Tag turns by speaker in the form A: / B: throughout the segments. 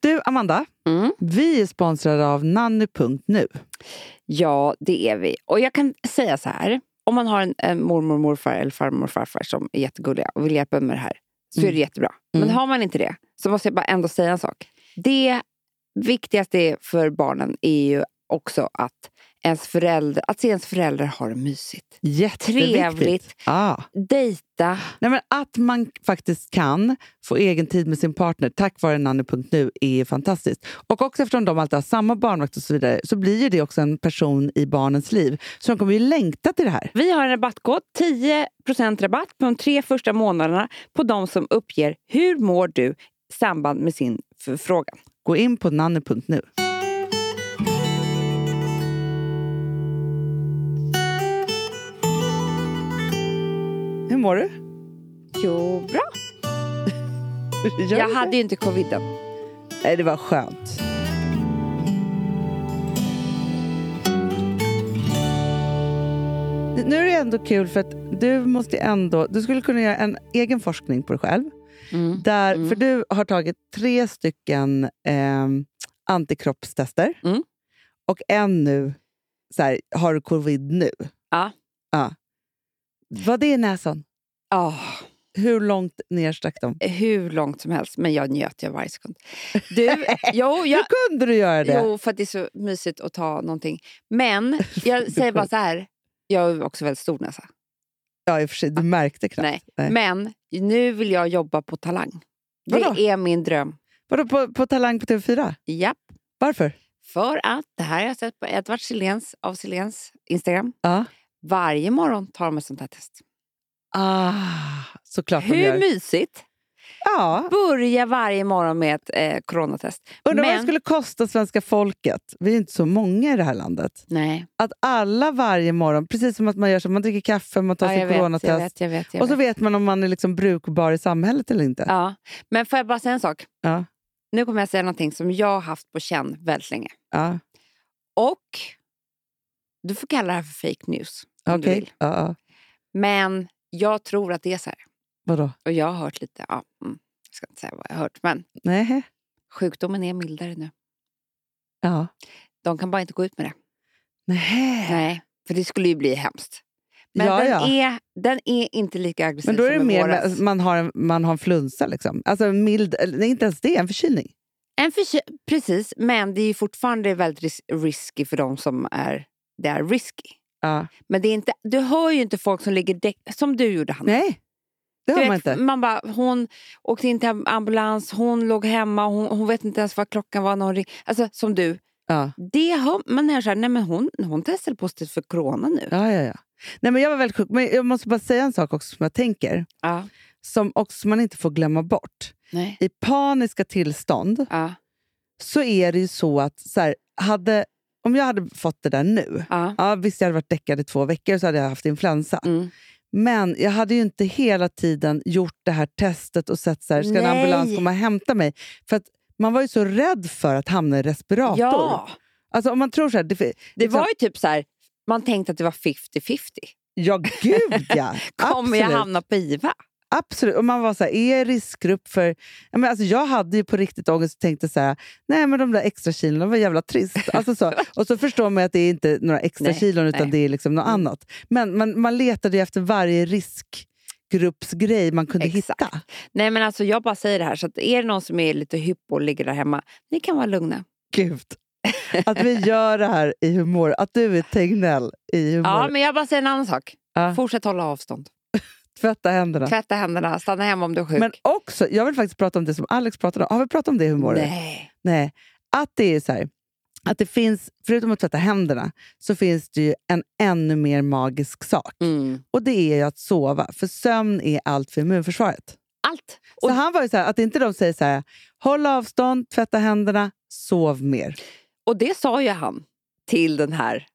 A: Du, Amanda,
B: Mm.
A: vi är sponsrade av nanny.nu.
B: Ja, det är vi. Och jag kan säga så här. Om man har en, en mormor, morfar eller farmor och farfar som är jättegulliga och vill hjälpa en med det här så
A: Mm.
B: är det jättebra.
A: Mm.
B: Men har man inte det så måste jag bara ändå säga en sak. Det viktigaste för barnen är ju också att, ens förälder, att se ens föräldrar har det mysigt.
A: Jätteviktigt.
B: Trevligt.
A: Ah.
B: Dejta.
A: Nej, men att man faktiskt kan få egen tid med sin partner tack vare nanny.nu är fantastiskt. Och också eftersom de alltid har samma barnvakt och så vidare så blir ju det också en person i barnens liv. Så de kommer ju längta till det här.
B: Vi har en rabattkod, 10% rabatt på de tre första månaderna på de som uppger hur mår du i samband med sin förfrågan.
A: Gå in på nanny.nu. Hur mår du?
B: Jo, bra.
A: Gör
B: Jag
A: du
B: hade ju inte coviden.
A: det? Nej, det var skönt. Nu är det ändå kul för att du måste ändå... Du skulle kunna göra en egen forskning på dig själv. Där,
B: Mm.
A: För du har tagit tre stycken ehm, antikroppstester.
B: Mm.
A: Och en nu, så här, har du covid nu?
B: Ja.
A: ja. Vad det är i näsan?
B: Ah,
A: Hur långt ner stack de?
B: hur långt som helst, men jag njöt ju av varje sekund. Du, jo, jag,
A: Hur kunde du göra det?
B: jo, för att det är så mysigt att ta någonting. Men jag säger bara så här, jag har ju också väldigt stor näsa.
A: Ja, i och för sig, du märkte knappt.
B: Nej.
A: Nej.
B: Men nu vill jag jobba på Talang. Det
A: Vadå?
B: är min dröm.
A: Vadå, på, på Talang på TV4?
B: Japp.
A: Varför?
B: För att, det här har jag sett på Edvard Silens av Silens Instagram.
A: Ja.
B: Varje morgon tar de ett sånt här test.
A: Ah, såklart de
B: Hur
A: gör.
B: mysigt?
A: Ja.
B: Börja varje morgon med ett eh, coronatest.
A: Undrar vad det
B: Men-
A: skulle kosta svenska folket, vi är inte så många i det här landet,
B: Nej.
A: att alla varje morgon, precis som att man gör så, man dricker kaffe, man tar
B: Ja,
A: sin
B: jag vet,
A: coronatest.
B: Jag vet, jag vet, jag
A: och så
B: vet.
A: vet man om man är liksom brukbar i samhället eller inte.
B: Ja. Men får jag bara säga en sak?
A: Ja.
B: Nu kommer jag säga någonting som jag har haft på känn väldigt länge.
A: Ja.
B: Och du får kalla det här för fake news om du
A: Okej.
B: vill.
A: Ja, ja.
B: Men jag tror att det är så här.
A: Vadå?
B: Och jag har hört lite, ja, mm, jag ska inte säga vad jag har hört, men
A: Nej.
B: sjukdomen är mildare nu.
A: Ja.
B: De kan bara inte gå ut med det.
A: Nej.
B: Nej, för det skulle ju bli hemskt. Men
A: Äh. ja,
B: den,
A: ja.
B: Är, den är inte lika aggressiv
A: Men då är det
B: som i
A: mer
B: våras.
A: med, man, har en, man har en flunsa liksom. Alltså en mild, eller, nej, inte ens det, en förkylning.
B: En förky- precis, men det är ju fortfarande väldigt ris- risky för de som är, det är risky.
A: Ja.
B: Men det är inte, du hör ju inte folk som ligger däck, som du gjorde Hanna.
A: Nej, det
B: Du
A: har man
B: vet,
A: inte.
B: man bara, hon åkte in till ambulans, hon låg hemma, hon, hon vet inte ens vad klockan var när hon ring, Alltså som du.
A: Ja.
B: Det hör, man hör såhär, nej men hon, hon testade positivt för corona nu.
A: Ja, ja, ja. Nej, men jag var väldigt sjuk. Men jag måste bara säga en sak också som jag tänker,
B: Ja.
A: som också man inte får glömma bort.
B: Nej.
A: I paniska tillstånd
B: Ja.
A: så är det ju så att så här, hade, om jag hade fått det där nu,
B: Ja.
A: ja, visst jag hade varit däckad i två veckor så hade jag haft influensa.
B: Mm.
A: Men jag hade ju inte hela tiden gjort det här testet och sett så här, ska en
B: Nej.
A: ambulans komma och hämta mig? För att man var ju så rädd för att hamna i respirator.
B: ja.
A: Alltså om man tror så här, det, det
B: Det var ju typ så här, man tänkte att det var 50-50.
A: Ja, gud ja!
B: Kommer jag
A: Absolut.
B: hamna på IVA?
A: Absolut. Och man var så här, är jag i riskgrupp för... Ja, men alltså jag hade ju på riktigt ångest och tänkte så här, nej men de där extra kilorna var jävla trist. Alltså så. Och så förstår man att det är inte några extra
B: Nej,
A: kilon utan
B: nej.
A: det är liksom något
B: Mm.
A: annat. Men man, man letade ju efter varje riskgruppsgrej man kunde
B: Exakt.
A: hitta.
B: Nej men alltså jag bara säger det här, så att är det någon som är lite hypp och ligger där hemma, ni kan vara lugna.
A: Gud. Att vi gör det här i humor. Att du är Tegnell i humor.
B: Ja men jag bara säger en annan sak.
A: Ja.
B: Fortsätt hålla avstånd.
A: Tvätta händerna.
B: Tvätta händerna, stanna hemma om du är sjuk.
A: Men också, jag vill faktiskt prata om det som Alex pratade om. Har vi pratat om det i humoret?
B: Nej.
A: Nej, att det är så här. Att det finns, förutom att tvätta händerna, så finns det ju en ännu mer magisk sak.
B: Mm.
A: Och det är ju att sova, för sömn är allt för immunförsvaret.
B: Allt.
A: Så
B: Och,
A: han var ju så här, att inte de säger så här, håll avstånd, tvätta händerna, sov mer.
B: och det sa ju han till den här,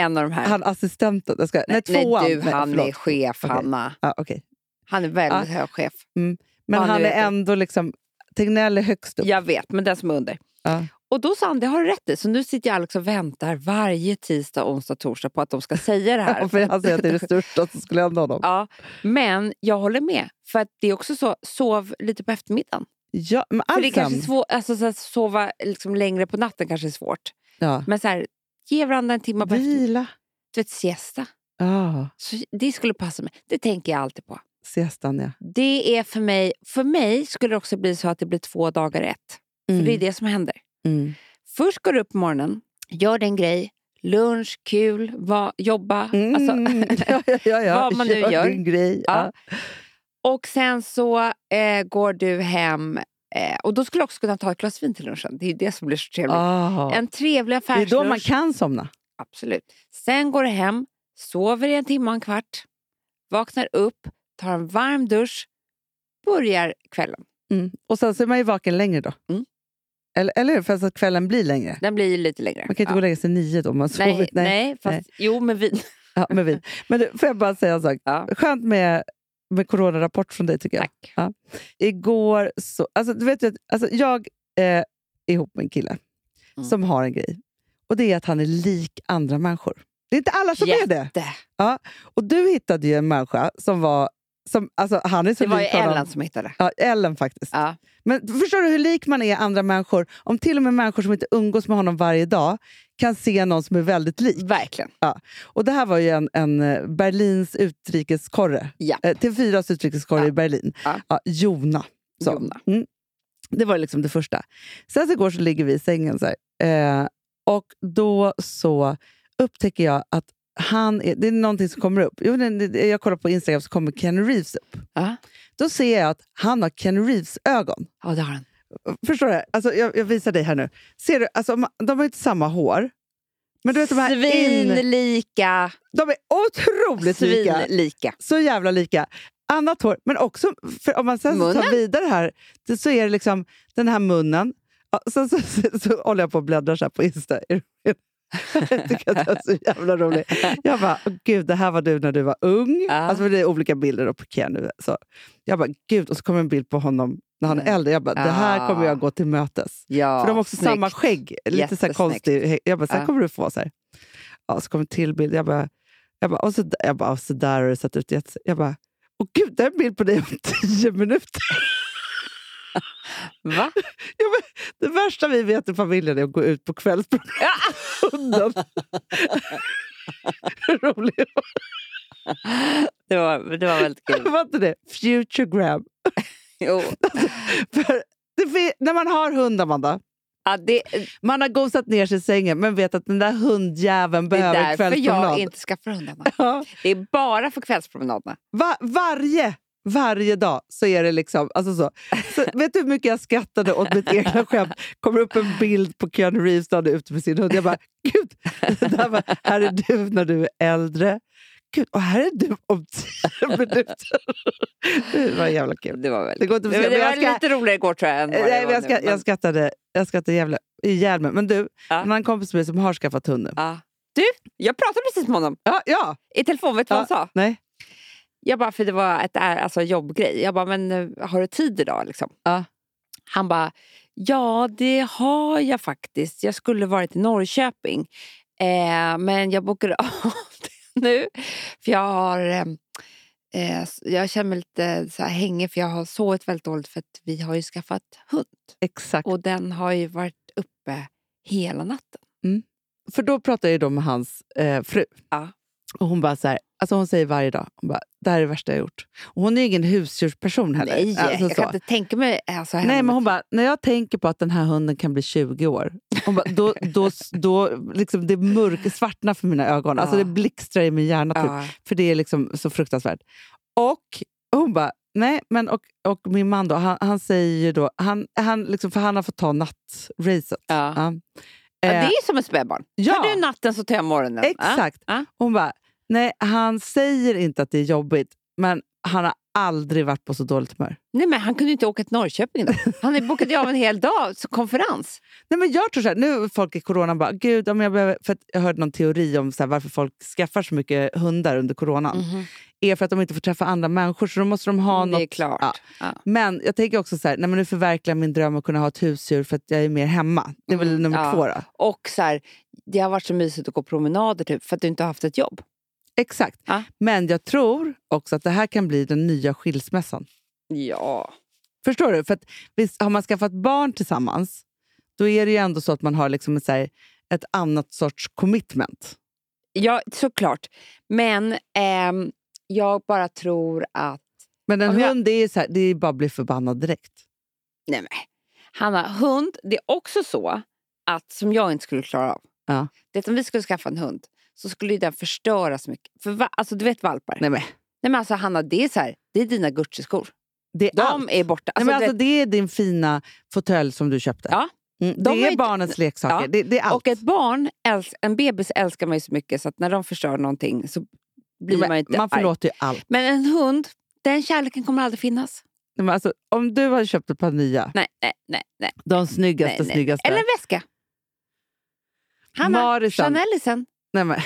B: en av de här.
A: Han assistenten, jag ska, nej, tvåan.
B: du, han
A: förlåt.
B: är chef
A: Okej.
B: Hanna.
A: Ja, okej.
B: Han är väldigt hög chef.
A: Men
B: Ja, nu
A: han
B: vet
A: är
B: jag.
A: ändå liksom, Tegnell är högst upp.
B: Jag vet, men den som är under.
A: Ja.
B: Och då sa han, det har du rätt i. Så nu sitter jag Alex och väntar varje tisdag, onsdag, torsdag på att de ska säga det här.
A: Ja, för han säger att det är det största som skulle hända honom.
B: Ja, men jag håller med. För att det är också så, sov lite på eftermiddagen.
A: Ja, men
B: För det är
A: allt
B: kanske
A: sam.
B: är svårt, alltså, så här, sova liksom, längre på natten kanske är svårt.
A: Ja.
B: Men så här, ge varandra en timme på eftermiddagen.
A: Vila.
B: Du vet, siesta.
A: Ja,
B: Så det skulle passa mig. Det tänker jag alltid på.
A: siestan ja.
B: Det är för mig, för mig skulle det också bli så att det blir två dagar i ett. För det är det som händer.
A: Mm.
B: Först går du upp på morgonen, gör din grej, lunch, kul, va, jobba.
A: Mm.
B: Alltså,
A: ja, ja, ja, ja.
B: vad man nu gör.
A: din grej. Ja.
B: Ja. och sen så eh, går du hem. Eh, och då skulle jag också kunna ta ett glas vin till lunchen. Det är ju det som blir så trevligt.
A: Ah.
B: En trevlig
A: Det är
B: affärslunch.
A: då man kan somna.
B: Absolut. Sen går du hem, sover i en timme och en kvart, vaknar upp, tar en varm dusch, börjar kvällen.
A: Mm. Och sen så är man ju vaken längre då.
B: Mm.
A: Eller, eller hur? Fast att kvällen blir längre.
B: Den blir ju lite längre.
A: Man kan inte gå och lägga sig nio då om man har
B: nej,
A: sovit.
B: nej, fast jo med vin.
A: Ja, men, vi. men du, får jag bara säga en sak?
B: Ja.
A: Skönt med, med coronarapport från dig tycker jag.
B: Tack.
A: Igår så... Alltså, du vet, ju att- alltså, jag eh, är ihop med en kille
B: Mm.
A: som har en grej. Och Det är att han är lik andra människor. Det är inte alla som är det.
B: Jätte.
A: Och Du hittade ju en människa som var... Som, alltså, han är så
B: Det var ju
A: lik honom.
B: Ellen som hittade.
A: Ja, Ellen faktiskt.
B: Ja.
A: Men förstår du hur lik man är andra människor? Om till och med människor som inte umgås med honom varje dag kan se någon som är väldigt lik.
B: Verkligen.
A: Och Det här var ju en, en eh, Berlins utrikeskorre.
B: Ja.
A: Eh, TV4s utrikeskorre
B: Ja.
A: i Berlin.
B: Ja.
A: Jona. Så.
B: Jona.
A: Mm. Det var liksom det första. Sen så igår så ligger vi i sängen så här. Eh, och då så upptäcker jag att han är, det är någonting som kommer upp. Jo, det- det- Jag kollar på Instagram så kommer Ken Reeves upp.
B: Ja.
A: Då ser jag att han har Ken Reeves-ögon.
B: ja, det har den.
A: Förstår du? Alltså, jag, jag visar dig här nu. Ser du? Alltså, ma- de har ju inte samma hår. Men du vet, de, här in,
B: Svinlika.
A: de är otroligt lika.
B: Svinlika.
A: Så jävla lika. Annat hår, men också, för om man sen så tar
B: Munnen?
A: vidare här, det- så är det liksom den här munnen. Ja, sen så, så, så håller jag på och bläddrar så här på Insta. Jag tycker att det är så jävla roligt. Jag bara, "Åh, gud, det här var du när du var ung.
B: Ja.
A: Alltså, för det är olika bilder då på Ken nu. Så. Jag bara, gud, och så kommer en bild på honom när han är
B: Mm.
A: äldre. Jag bara, det här
B: Ah.
A: kommer jag gå till mötes.
B: Ja,
A: För de har också
B: snyggt.
A: samma skägg. Lite så här
B: Jättesnyggt.
A: konstig. hä- Jag bara, så här
B: Ja.
A: kommer du få. Så, här. Ja, så kommer en till bild. Jag bara, jag bara, och så, jag bara, och så där har det sett ut. jätte- Jag bara, åh gud, det är en bild på dig om tio minuter.
B: Va?
A: Det värsta vi vet i familjen är att gå ut på kvällspromenad med hunden. Hur roligt
B: Det var, det var väldigt kul.
A: var inte det? Future grab.
B: Jo.
A: För det, fin- när man har hund, Amanda,
B: Ja, det,
A: man har gosat ner sig i sängen men vet att den där hundjäveln
B: det är
A: behöver
B: därför jag
A: kvällspromenad.
B: inte skaffar hundarna.
A: Ja.
B: Det är bara för kvällspromenaderna.
A: Va- varje, varje dag så är det liksom... Alltså så. Så, vet du hur mycket jag skrattade åt mitt egna skämt? kommer upp en bild på Keanu Reeves när han är ute med sin hund. Jag bara, gud, det här, var, här är du när du är äldre. Gud, och här är du om tio minuter. Det var jävla kul.
B: Det var väldigt
A: Det går inte att
B: Nej, men
A: säga,
B: det
A: men
B: var
A: jag ska-
B: lite roligare igår tror jag. Än vad det
A: Nej, men
B: var
A: jag,
B: nu,
A: ska,
B: men-
A: jag skrattade, jag skrattade jävla, ihjäl mig. Men du,
B: Ja.
A: en annan kompis med mig som har skaffat hund nu.
B: Ja. Du, jag pratade precis med honom
A: Ja, ja.
B: i telefon. Vet du
A: Ja.
B: vad han sa?
A: Nej.
B: Jag bara, för det var ett är- alltså, jobbgrej. Jag bara, men eh, har du tid idag? Liksom.
A: Ja.
B: Han bara, ja det har jag faktiskt. Jag skulle varit i Norrköping. Eh, men jag bokade av det nu. För jag har... Eh, eh, s- jag känner mig lite så här hängig för jag har sovit väldigt dåligt för att vi har ju skaffat hund.
A: Exakt.
B: Och den har ju varit uppe hela natten.
A: För då pratar jag ju då med hans eh, fru.
B: Ja.
A: Och hon bara så här, alltså hon säger varje dag, hon bara, det här är det värsta jag gjort. Och hon är ju ingen husdjursperson heller.
B: Nej,
A: alltså,
B: jag
A: så.
B: kan inte tänka mig alltså, henne.
A: Nej, men hon bara, när jag tänker på att den här hunden kan bli 20 år, hon bara, då, då, då liksom det mörk, svartnar för mina ögon. Alltså
B: Ja.
A: det blixtrar i min hjärna typ.
B: ja.
A: För det är liksom så fruktansvärt. Och hon bara, nej, men och, och min man då, han, han säger ju då, han, han liksom, för han har fått ta nattracet.
B: Ja.
A: Ja.
B: Ja,
A: Eh,
B: det är som ett spädbarn. Tar du natten så tar jag morgonen.
A: Exakt.
B: Ja.
A: Hon bara, nej han säger inte att det är jobbigt, men han har aldrig varit på så dåligt humör.
B: Nej, men han kunde ju inte åka till Norrköping då. Han bokade ju av en hel dag, så konferens.
A: Nej, men jag tror så här, nu är folk i corona bara, gud om jag behöver, för att jag hörde någon teori om så här, varför folk skaffar så mycket hundar under coronan. är för att de inte får träffa andra människor, så då måste de ha
B: Mm. Mhm. Det är
A: något.
B: klart.
A: Ja.
B: Ja.
A: Men jag tänker också så här, nej, men nu förverkligar min dröm att kunna ha ett husdjur för att jag är mer hemma. Det är väl
B: Mm,
A: nummer
B: ja.
A: två då.
B: Och så här, det har varit så mysigt att gå promenader typ, för att du inte har haft ett jobb.
A: Exakt.
B: Ja.
A: Men jag tror också att det här kan bli den nya skilsmässan.
B: Ja.
A: Förstår du? För att, visst, har man skaffat barn tillsammans, då är det ju ändå så att man har liksom ett, så här, ett annat sorts commitment.
B: Ja, såklart. Men ehm, jag bara tror att
A: Men en
B: Om jag-
A: hund, det är, så här, det är bara att bli förbannad direkt.
B: Nej, men. Hanna, hund, det är också så att som jag inte skulle klara av.
A: Ja.
B: Det om vi skulle skaffa en hund så skulle ju den förstöra så mycket. För va, alltså, du vet valpar.
A: Nej,
B: Nej.
A: men,
B: men alltså Hanna, det är så här, det är dina Gucci-skor.
A: det är
B: De
A: allt.
B: är borta.
A: Nej,
B: Alltså,
A: men
B: du
A: alltså, det är din fina fåtölj som du köpte.
B: Ja.
A: Mm,
B: De har
A: det
B: ju
A: är
B: inte-
A: barnets leksaker.
B: Ja.
A: Det, det är
B: vet,
A: allt.
B: och ett barn, älsk, en bebis älskar man ju så mycket så att när de förstör någonting så blir man ju
A: man,
B: inte
A: man
B: arg.
A: förlåter ju allt.
B: Men en hund, den kärleken kommer aldrig finnas.
A: Nej, men alltså, om du hade köpt ett par nya,
B: Nej, nej, nej. nej,
A: de
B: nej,
A: snyggaste,
B: nej.
A: snyggaste.
B: Eller en väska. Hanna,
A: Marisen.
B: Chanelisen.
A: Nej, men,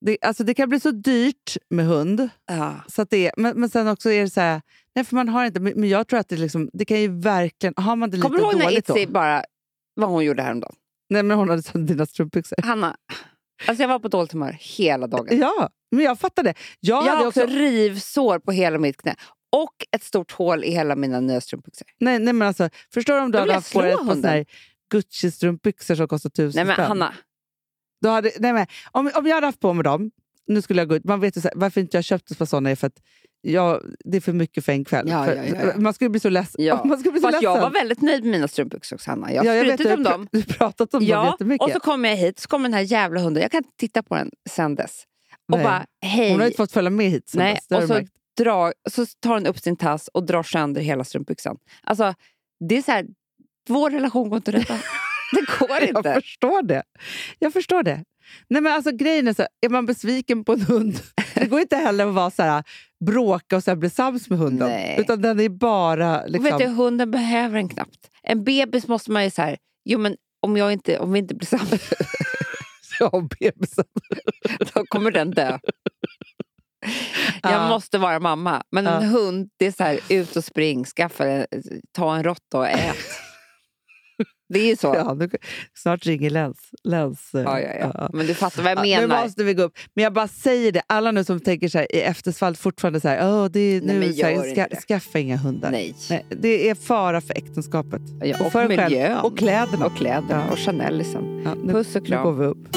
A: det, alltså, det kan bli så dyrt med hund.
B: Ja.
A: Så att det, är- men, men sen också är det så här, nej för man har inte, men men jag tror att det, liksom, det kan ju verkligen, har man det lite
B: Kommer du ihåg när
A: dåligt då?
B: Itzy bara, vad hon gjorde häromdagen?
A: Nej men hon hade sönder dina strumpbyxor.
B: Hanna, alltså jag var på dåligt humör hela dagen.
A: Ja, men jag fattar det. Jag,
B: Jag
A: hade
B: har
A: också,
B: också rivsår på hela mitt knä. Och ett stort hål i hela mina nya strumpbyxor.
A: nej, nej men alltså, förstår du om du
B: Då
A: hade
B: vill jag
A: haft
B: slå
A: på dig ett par
B: hunden.
A: såna här Gucci-strumpbyxor som kostar
B: Nej
A: tusen
B: men
A: spänn.
B: Hanna,
A: Då hade, nej men, om, om jag hade haft på mig dem, nu skulle jag gå ut. Man vet ju så här, varför inte jag köpte ett par sådana är för att jag, det är för mycket för en kväll.
B: Ja,
A: för,
B: ja, ja, ja.
A: Man skulle bli så ledsen.
B: Ja.
A: Man skulle bli så
B: fast jag
A: ledsen.
B: var väldigt nöjd med mina strumpbyxor också Hanna. Jag har
A: vet,
B: skrutit
A: du,
B: om
A: pr-
B: dem.
A: Du har pratat om dem
B: Ja,
A: jättemycket.
B: och så kommer jag hit, så kommer den här jävla hunden. Jag kan inte titta på den sen dess. Och
A: Nej.
B: bara, hej.
A: Hon har inte fått följa med hit sen
B: Nej,
A: dess, det har
B: och
A: du
B: så-
A: märkt.
B: dra, så tar den upp sin tass och drar sönder hela strumpbyxan. Alltså, det är så här, vår relation går inte att rädda. Det går
A: Jag
B: inte.
A: förstår det. Jag förstår det. Nej, men alltså, grejen är så här, är man besviken på en hund, det går inte heller att vara så här, bråka och så här, bli sams med hunden.
B: Nej.
A: Utan den är bara...
B: Och
A: Liksom,
B: Vet du, hunden behöver en knappt. En bebis måste man ju så här, jo men om, jag inte, om vi inte blir sams
A: ja, bebisen.
B: då kommer den dö.
A: Ja.
B: Jag måste vara mamma. Men en
A: Ja.
B: hund, det är så här, ut och spring, skaffa, en- ta en råtta och ät. Det är ju så. Ja,
A: ja, nu, snart ringer Läns. läns eh,
B: ja, ja,
A: ja.
B: Men du fattar vad jag
A: Ja, nu
B: menar.
A: måste vi gå upp. Men jag bara säger det, alla nu som tänker så här, i eftersvall fortfarande så här, "Åh, det är
B: Nej,
A: nu,
B: men
A: så här,
B: gör
A: ska,
B: inte det."
A: skaffa inga hundar.
B: Nej.
A: Nej, det är fara för äktenskapet.
B: Ja, och,
A: för en själv.
B: miljön.
A: Och kläderna.
B: Och kläderna. Och Chanel liksom.
A: Ja, nu,
B: Puss och
A: nu går
B: kram.
A: vi upp.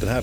C: Den här